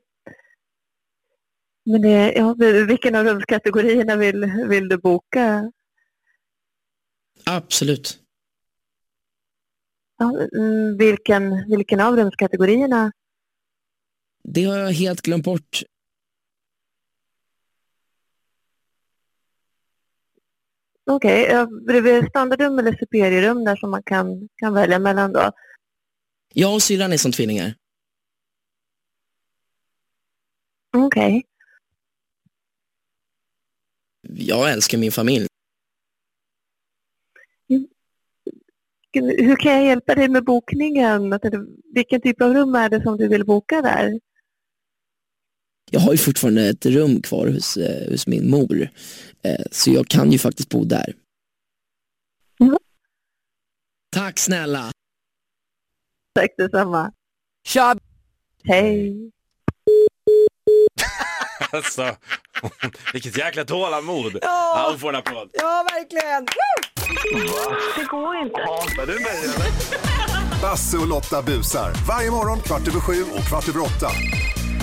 S9: Men det, ja, men vilken av rumskategorierna vill, vill du boka?
S16: Absolut.
S9: Ja, mm, vilken, vilken av rumskategorierna?
S16: Det har jag helt glömt bort.
S9: Okej, ja, bredvid standardrum eller superierum där som man kan, kan välja mellan då?
S16: Jag och syrran är som tvillingar.
S9: Okej.
S16: Jag älskar min familj.
S9: Hur kan jag hjälpa dig med bokningen? Jag tänkte, Vilken typ av rum är det som du vill boka där?
S16: Jag har ju fortfarande ett rum kvar hos, eh, hos min mor. Eh, så jag kan ju faktiskt bo där. Tack snälla.
S9: Tack detsamma.
S2: Tja!
S9: Hej.
S1: Alltså, vilket jäkla tålamod.
S2: Ja.
S1: Ja, hon får en applåd.
S2: Ja, verkligen.
S6: Det går inte.
S5: Basse och Lotta busar. Varje morgon kvart över sju och kvart över åtta.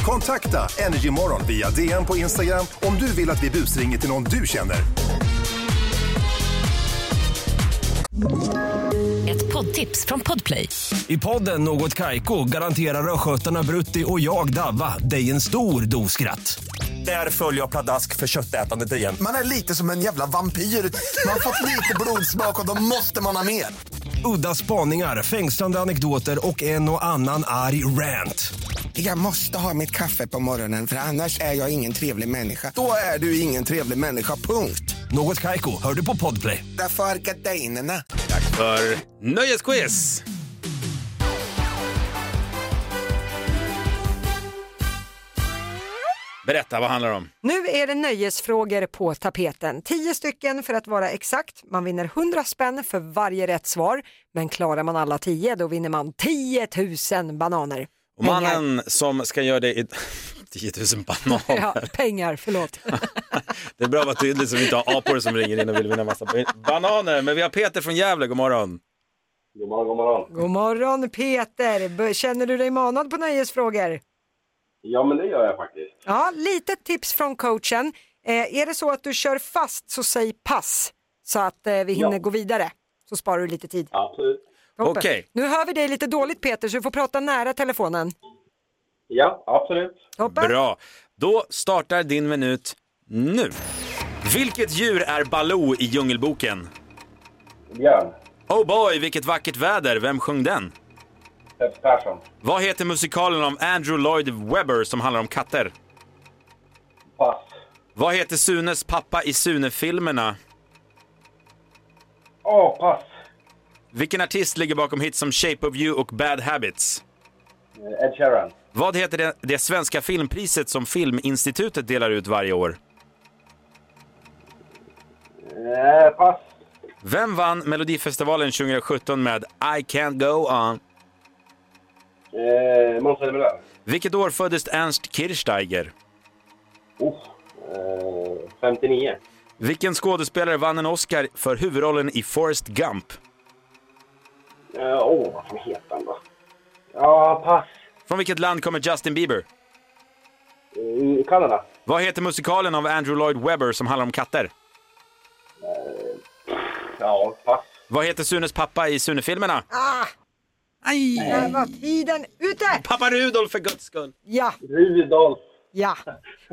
S5: Kontakta Energymorgon via DM på Instagram om du vill att vi busringer till någon du känner.
S17: Ett poddtips från Podplay.
S18: I podden Något Kaiko garanterar östgötarna Brutti och jag, Davva, dig en stor dos skratt. Där följer jag pladask för köttätandet igen.
S7: Man är lite som en jävla vampyr. Man har fått lite blodsmak och då måste man ha mer.
S18: Udda spaningar, fängslande anekdoter och en och annan arg rant.
S19: Jag måste ha mitt kaffe på morgonen för annars är jag ingen trevlig människa. Då är du ingen trevlig människa, punkt.
S18: Något Kaiko, hör du på Podplay.
S19: Därför är gardinerna.
S1: Tack för nöjesquiz. Berätta, vad handlar det om?
S2: Nu är det nöjesfrågor på tapeten. 10 stycken för att vara exakt. Man vinner 100 spänn för varje rätt svar. Men klarar man alla 10 då vinner man 10 000 bananer.
S1: Och mannen som ska göra det i 10 000 bananer.
S2: Ja, pengar, förlåt.
S1: Det är bra att vara tydlig så vi inte har apor som ringer in och vill vinna massa bananer. Men vi har Peter från Gävle, god morgon.
S11: God morgon, god morgon.
S2: God morgon Peter! B- Känner du dig manad på nöjesfrågor?
S11: Ja, men det gör jag faktiskt.
S2: Ja, litet tips från coachen. Eh, är det så att du kör fast så säg pass så att eh, vi hinner
S11: Ja.
S2: gå vidare. Så sparar du lite tid.
S11: Absolut.
S2: Toppen.
S11: Okej.
S2: Nu hör vi dig lite dåligt Peter så du får prata nära telefonen.
S11: Ja, absolut.
S2: Toppen.
S1: Bra. Då startar din minut nu. Vilket djur är Baloo i Djungelboken?
S11: Björn,
S1: Oh boy, vilket vackert väder. Vem sjöng den?
S11: Peps Persson,
S1: Vad heter musikalen om Andrew Lloyd Webber som handlar om katter?
S11: pass.
S1: Vad heter Sunes pappa i Sune-filmerna?
S11: Åh, pass.
S1: Vilken artist ligger bakom hits som Shape of You och Bad Habits?
S11: Eh, Ed Sheeran,
S1: Vad heter det, det svenska filmpriset som Filminstitutet delar ut varje år?
S11: eh, pass.
S1: Vem vann Melodifestivalen 2017 med I can't go on?
S11: Eh, Måns Zelmerlöw.
S1: Vilket år föddes Ernst Kirchsteiger?
S11: Oh, eh, 59.
S1: Vilken skådespelare vann en Oscar för huvudrollen i Forrest Gump?
S11: Eh, Åh, vad fan heter han då? Ja, pass.
S1: Från vilket land kommer Justin Bieber?
S11: I Kanada.
S1: Vad heter musikalen av Andrew Lloyd Webber som handlar om katter?
S11: Ja, pass.
S1: Vad heter Sunes pappa i Sune-filmerna?
S2: Ah!
S1: Aj!
S2: Där var tiden ute!
S1: Pappa Rudolf för guds skull!
S2: Ja,
S11: Rudolf.
S2: ja.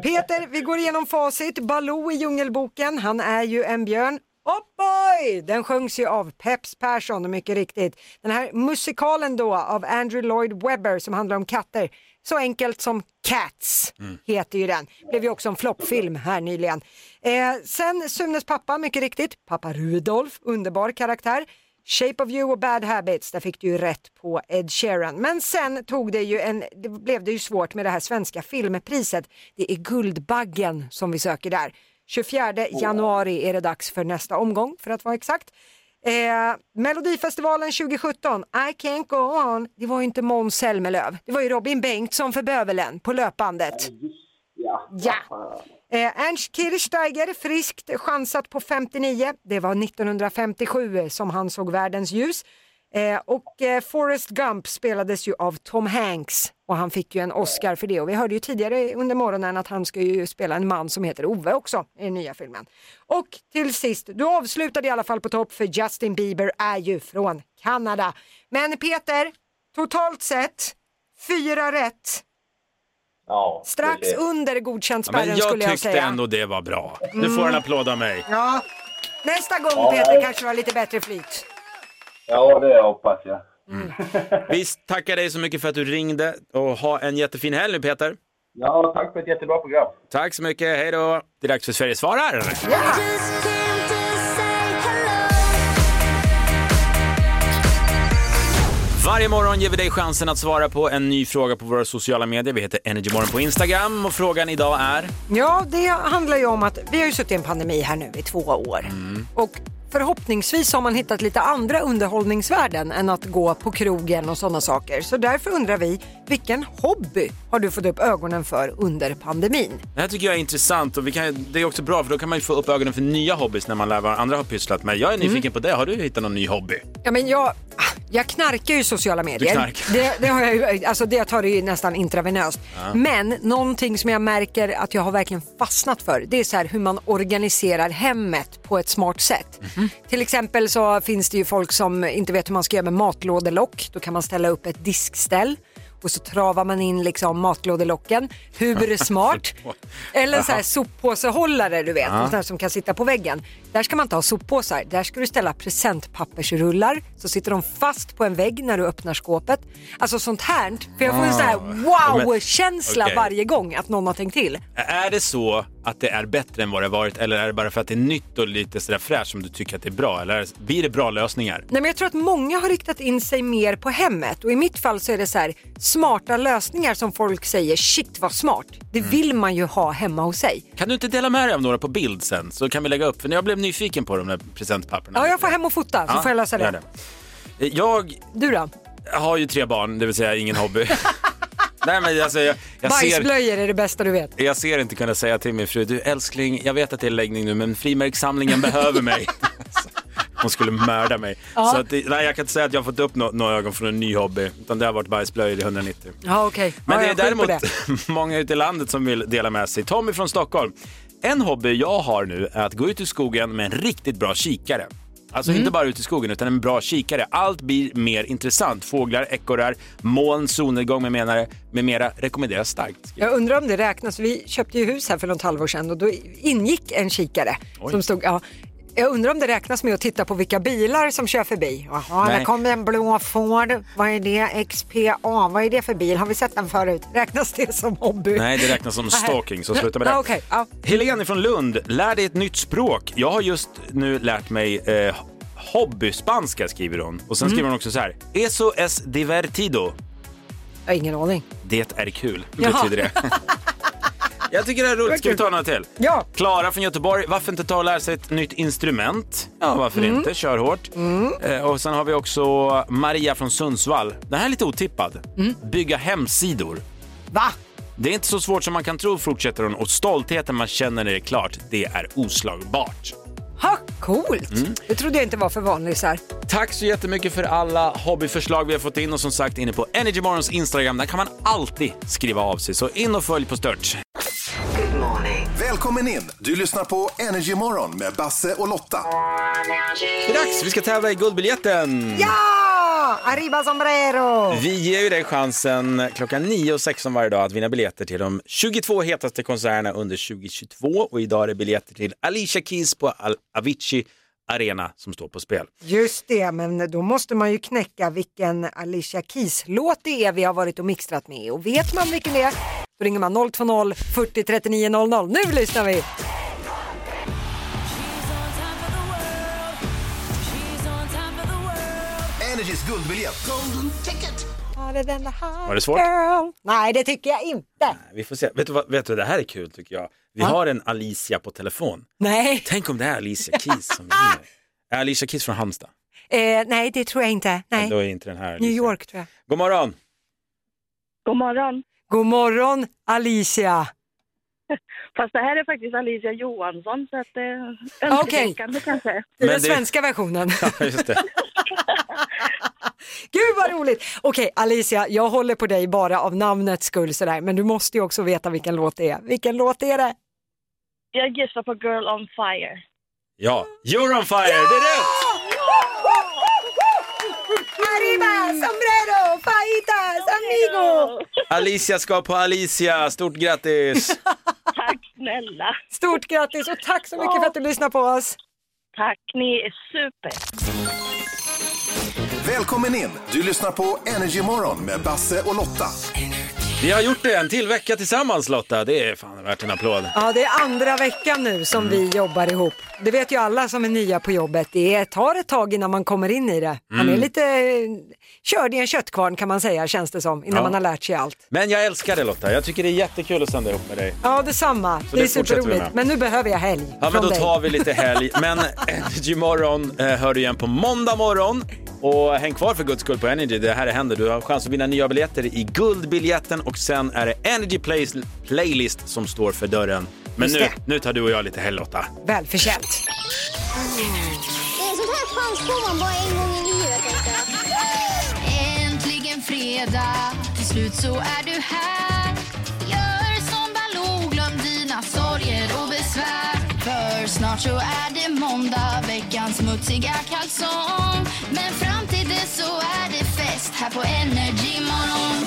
S2: Peter, vi går igenom facit. Baloo i Djungelboken, han är ju en björn. Hoppoj! Den sjöngs ju av Peps Persson och mycket riktigt. Den här musikalen då av Andrew Lloyd Webber som handlar om katter, så enkelt som Cats heter ju den. Blev ju också en floppfilm här nyligen. Eh, sen Sunes pappa, mycket riktigt, pappa Rudolf, underbar karaktär. Shape of you och Bad Habits, där fick du ju rätt på Ed Sheeran. Men sen tog det ju en, det blev det ju svårt med det här svenska filmpriset. Det är Guldbaggen som vi söker där. 24 januari är det dags för nästa omgång för att vara exakt. Eh, Melodifestivalen 2017, I can't go on, det var ju inte Måns Zelmerlöw, det var ju Robin Bengtsson för Bövelen på löpandet.
S11: Ja.
S2: Ja. Eh, Ernst Kirchsteiger, friskt chansat på 59. Det var 1957 som han såg världens ljus. Eh, och eh, Forrest Gump spelades ju av Tom Hanks och han fick ju en Oscar för det. Och vi hörde ju tidigare under morgonen att han ska ju spela en man som heter Ove också i den nya filmen. Och till sist, du avslutade i alla fall på topp för Justin Bieber är ju från Kanada. Men Peter, totalt sett fyra rätt.
S11: Ja,
S2: Strax
S11: precis.
S2: under godkänt
S1: Ja, men
S2: spärren
S1: jag
S2: skulle jag
S1: tyckte
S2: säga. Mm.
S1: ändå det var bra. Du får en applåd av mig.
S2: Ja. Nästa gång
S11: Ja.
S2: Peter kanske det var lite bättre flyt.
S11: Ja, det hoppas jag.
S1: Vi tackar dig så mycket för att du ringde och ha en jättefin helg nu Peter.
S11: Ja, tack för ett jättebra program.
S1: Tack så mycket, hej då. Det är dags för Sverige svarar. Varje morgon ger vi dig chansen att svara på en ny fråga på våra sociala medier. Vi heter Energymorgon på Instagram och frågan idag är
S2: Ja, det handlar ju om att vi har ju suttit i en pandemi här nu i två år. Och förhoppningsvis har man hittat lite andra underhållningsvärden än att gå på krogen och sådana saker. Så därför undrar vi, vilken hobby har du fått upp ögonen för under pandemin?
S1: Det här tycker jag är intressant och vi kan, det är också bra för då kan man ju få upp ögonen för nya hobbys när man lär vad andra har pysslat med. Jag är nyfiken på det, har du hittat någon ny hobby?
S2: Ja, men jag, jag knarkar ju sociala medier.
S1: knarkar.
S2: Det, det, har jag, ju- alltså det tar det ju nästan intravenöst.
S1: Ja.
S2: Men någonting som jag märker att jag har verkligen fastnat för det är så här hur man organiserar hemmet på ett smart sätt.
S1: Mhm.
S2: Till exempel så finns det ju folk som inte vet hur man ska göra med matlådelock. Då kan man ställa upp ett diskställ och så travar man in liksom matlådelocken. Hur smart? Eller så här
S1: Jaha.
S2: soppåsehållare du vet,
S1: Ja.
S2: en sån här som kan sitta på väggen. Där ska man inte ha soppåsar, där ska du ställa presentpappersrullar så sitter de fast på en vägg när du öppnar skåpet. Alltså sånt här, för jag får en sån här
S1: Ah. Men-
S2: wow-känsla
S1: Okej.
S2: varje gång att någon har tänkt till.
S1: Är det så att det är bättre än vad det varit eller är det bara för att det är nytt och lite sådär fräscht som du tycker att det är bra? Eller är det- blir det bra lösningar?
S2: Nej, men jag tror att många har riktat in sig mer på hemmet och i mitt fall så är det så här smarta lösningar som folk säger shit vad smart. Det
S1: Mm.
S2: vill man ju ha hemma hos sig.
S1: Kan du inte dela med dig av några på bild sen så kan vi lägga upp? För jag blev nyfiken på de där presentpapperna.
S2: Ja, jag får hem och fota så
S1: Ja,
S2: får jag lösa
S1: gör
S2: det.
S1: det. Jag
S2: Du då?
S1: har ju tre barn, det vill säga ingen hobby. Nej, men alltså, jag, jag, ser,
S2: Bajsblöjor är det bästa du vet.
S1: jag ser inte kunna säga till min fru, du älskling, jag vet att det är läggning nu men frimärkssamlingen behöver mig. Hon skulle mörda mig.
S2: Ja.
S1: Så att, det- nej, jag kan inte säga att jag har fått upp nå- några ögon från en ny hobby. Utan det har varit bajsblöjor i 190.
S2: Ja okej.
S1: Men
S2: ja,
S1: det är
S2: jag skiter på
S1: däremot många ute i landet som vill dela med sig. Tommy från Stockholm. En hobby jag har nu är att gå ut i skogen med en riktigt bra kikare. Alltså
S2: Mm.
S1: inte bara ut i skogen utan en bra kikare. Allt blir mer intressant. Fåglar, ekorrar, moln, solnedgång med, menare, med mera rekommenderas starkt.
S2: Jag undrar om det räknas. Vi köpte ju hus här för något halvår sedan och då ingick en kikare
S1: Oj.
S2: som stod, ja, jag undrar om det räknas med att titta på vilka bilar som kör förbi. Jaha,
S1: Nej.
S2: där kom en blå Ford. Vad är det? XPA. Vad är det för bil? Har vi sett den förut? Räknas det som hobby?
S1: Nej, det räknas som
S2: Nej.
S1: stalking, så sluta med det.
S2: Ja, okej. ja.
S1: Helene från Lund, lär dig ett nytt språk. Jag har just nu lärt mig eh, hobbyspanska, skriver hon. Och sen
S2: Mm.
S1: skriver hon också så här. Eso es divertido.
S2: Jag har ingen aning.
S1: Det är kul,
S2: Jaha.
S1: betyder det. Jag tycker det är roligt. Ska vi ta några till?
S2: Ja.
S1: Klara från Göteborg, varför inte ta och lära sig ett nytt instrument? Ja, varför
S2: Mm.
S1: inte? Kör hårt. Eh, Och sen har vi också Maria från Sundsvall. Den här är lite otippad. Bygga hemsidor.
S2: Mm. Va?
S1: Det är inte så svårt som man kan tro, fortsätter hon. Och stoltheten man känner när det Mm. är klart, det är oslagbart.
S2: Ha, coolt! Det trodde jag inte var för vanlisar.
S1: Tack så jättemycket för alla hobbyförslag vi har fått in och som sagt inne på Energy Morgons Instagram, där kan man alltid skriva av sig. Så in och följ på stört.
S5: Välkommen in! Du lyssnar på Energy Morgon med Basse och Lotta.
S1: Det är dags, vi ska tävla i guldbiljetten!
S2: Ja! Arriba sombrero!
S1: Vi ger ju dig chansen klockan 9 och 16 varje dag att vinna biljetter till de 22 hetaste konserterna under 2022 och idag är det biljetter till Alicia Keys på Al- Avicii Arena som står på spel.
S2: Just det, men då måste man ju knäcka vilken Alicia Keys-låt det är vi har varit och mixtrat med. Och vet man vilken det är, då ringer man 020 40 39 00. Nu lyssnar vi!
S5: Energys guldbiljett.
S1: Var det svårt?
S2: Girl. Nej, det tycker jag inte.
S1: Vi får se. Vet du, vad, vet du, det här är kul tycker jag. Vi har en Alicia på telefon.
S2: Nej.
S1: Tänk om det är Alicia Keys som ringer. Är Alicia Keys från Halmstad?
S2: Eh, nej, det tror jag inte. Nej.
S1: Då är inte den här.
S2: New
S1: Alicia.
S2: York tror jag.
S1: God morgon!
S20: God morgon.
S2: God morgon Alicia!
S20: Fast det här är faktiskt Alicia Johansson så att det är
S2: Okej.
S20: önsketänkande kanske.
S2: Det är den svenska versionen.
S1: Just det.
S2: Gud vad roligt! Okej Alicia, jag håller på dig bara av namnets skull sådär, men du måste ju också veta vilken låt det är. Vilken låt är det?
S20: Jag gissar på Girl on Fire.
S1: Ja, You're on fire! Det är rätt!
S2: Arriba, sombrero, fajitas, amigo!
S1: Alicia ska på Alicia, stort grattis!
S20: Tack snälla.
S2: Stort grattis och tack så mycket för att du lyssnar på oss.
S20: Tack, ni är super.
S5: Välkommen in! Du lyssnar på Energy Morgon med Basse och Lotta.
S1: Vi har gjort det en till vecka tillsammans Lotta, det är fan värt en applåd.
S2: Ja, det är andra veckan nu som
S1: Mm.
S2: vi jobbar ihop. Det vet ju alla som är nya på jobbet. Det är- tar ett tag innan man kommer in i det. Man
S1: Mm.
S2: är lite eh, körd i en köttkvarn kan man säga, känns det som, innan
S1: Ja.
S2: man har lärt sig allt.
S1: Men jag älskar det Lotta, jag tycker det är jättekul att sända ihop med dig.
S2: Ja, detsamma.
S1: Så
S2: det är
S1: det fortsätter vi med.
S2: superroligt. Men nu behöver jag helg
S1: Ja men
S2: från
S1: då
S2: dig.
S1: tar vi lite helg, men eh, Energy morgon eh, hör du igen på måndag morgon. Och häng kvar för guds skull på Energy, det här är händer. Du har chans att vinna nya biljetter i guldbiljetten och sen är det Energy Play- Playlist som står för dörren. Men
S2: Just
S1: nu,
S2: det.
S1: nu tar du och jag lite helg Lotta.
S2: Välförtjänt.
S3: Det är sånt här chans får man bara en gång i livet. tänkte jag.
S4: Äntligen fredag, till slut så är du här. Gör som Baloo, glöm dina sorger och besvär. För snart så är det måndag, veckans smutsiga kalsong. Men fram till dess så är det fest här på Energy Morgon.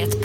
S17: Ett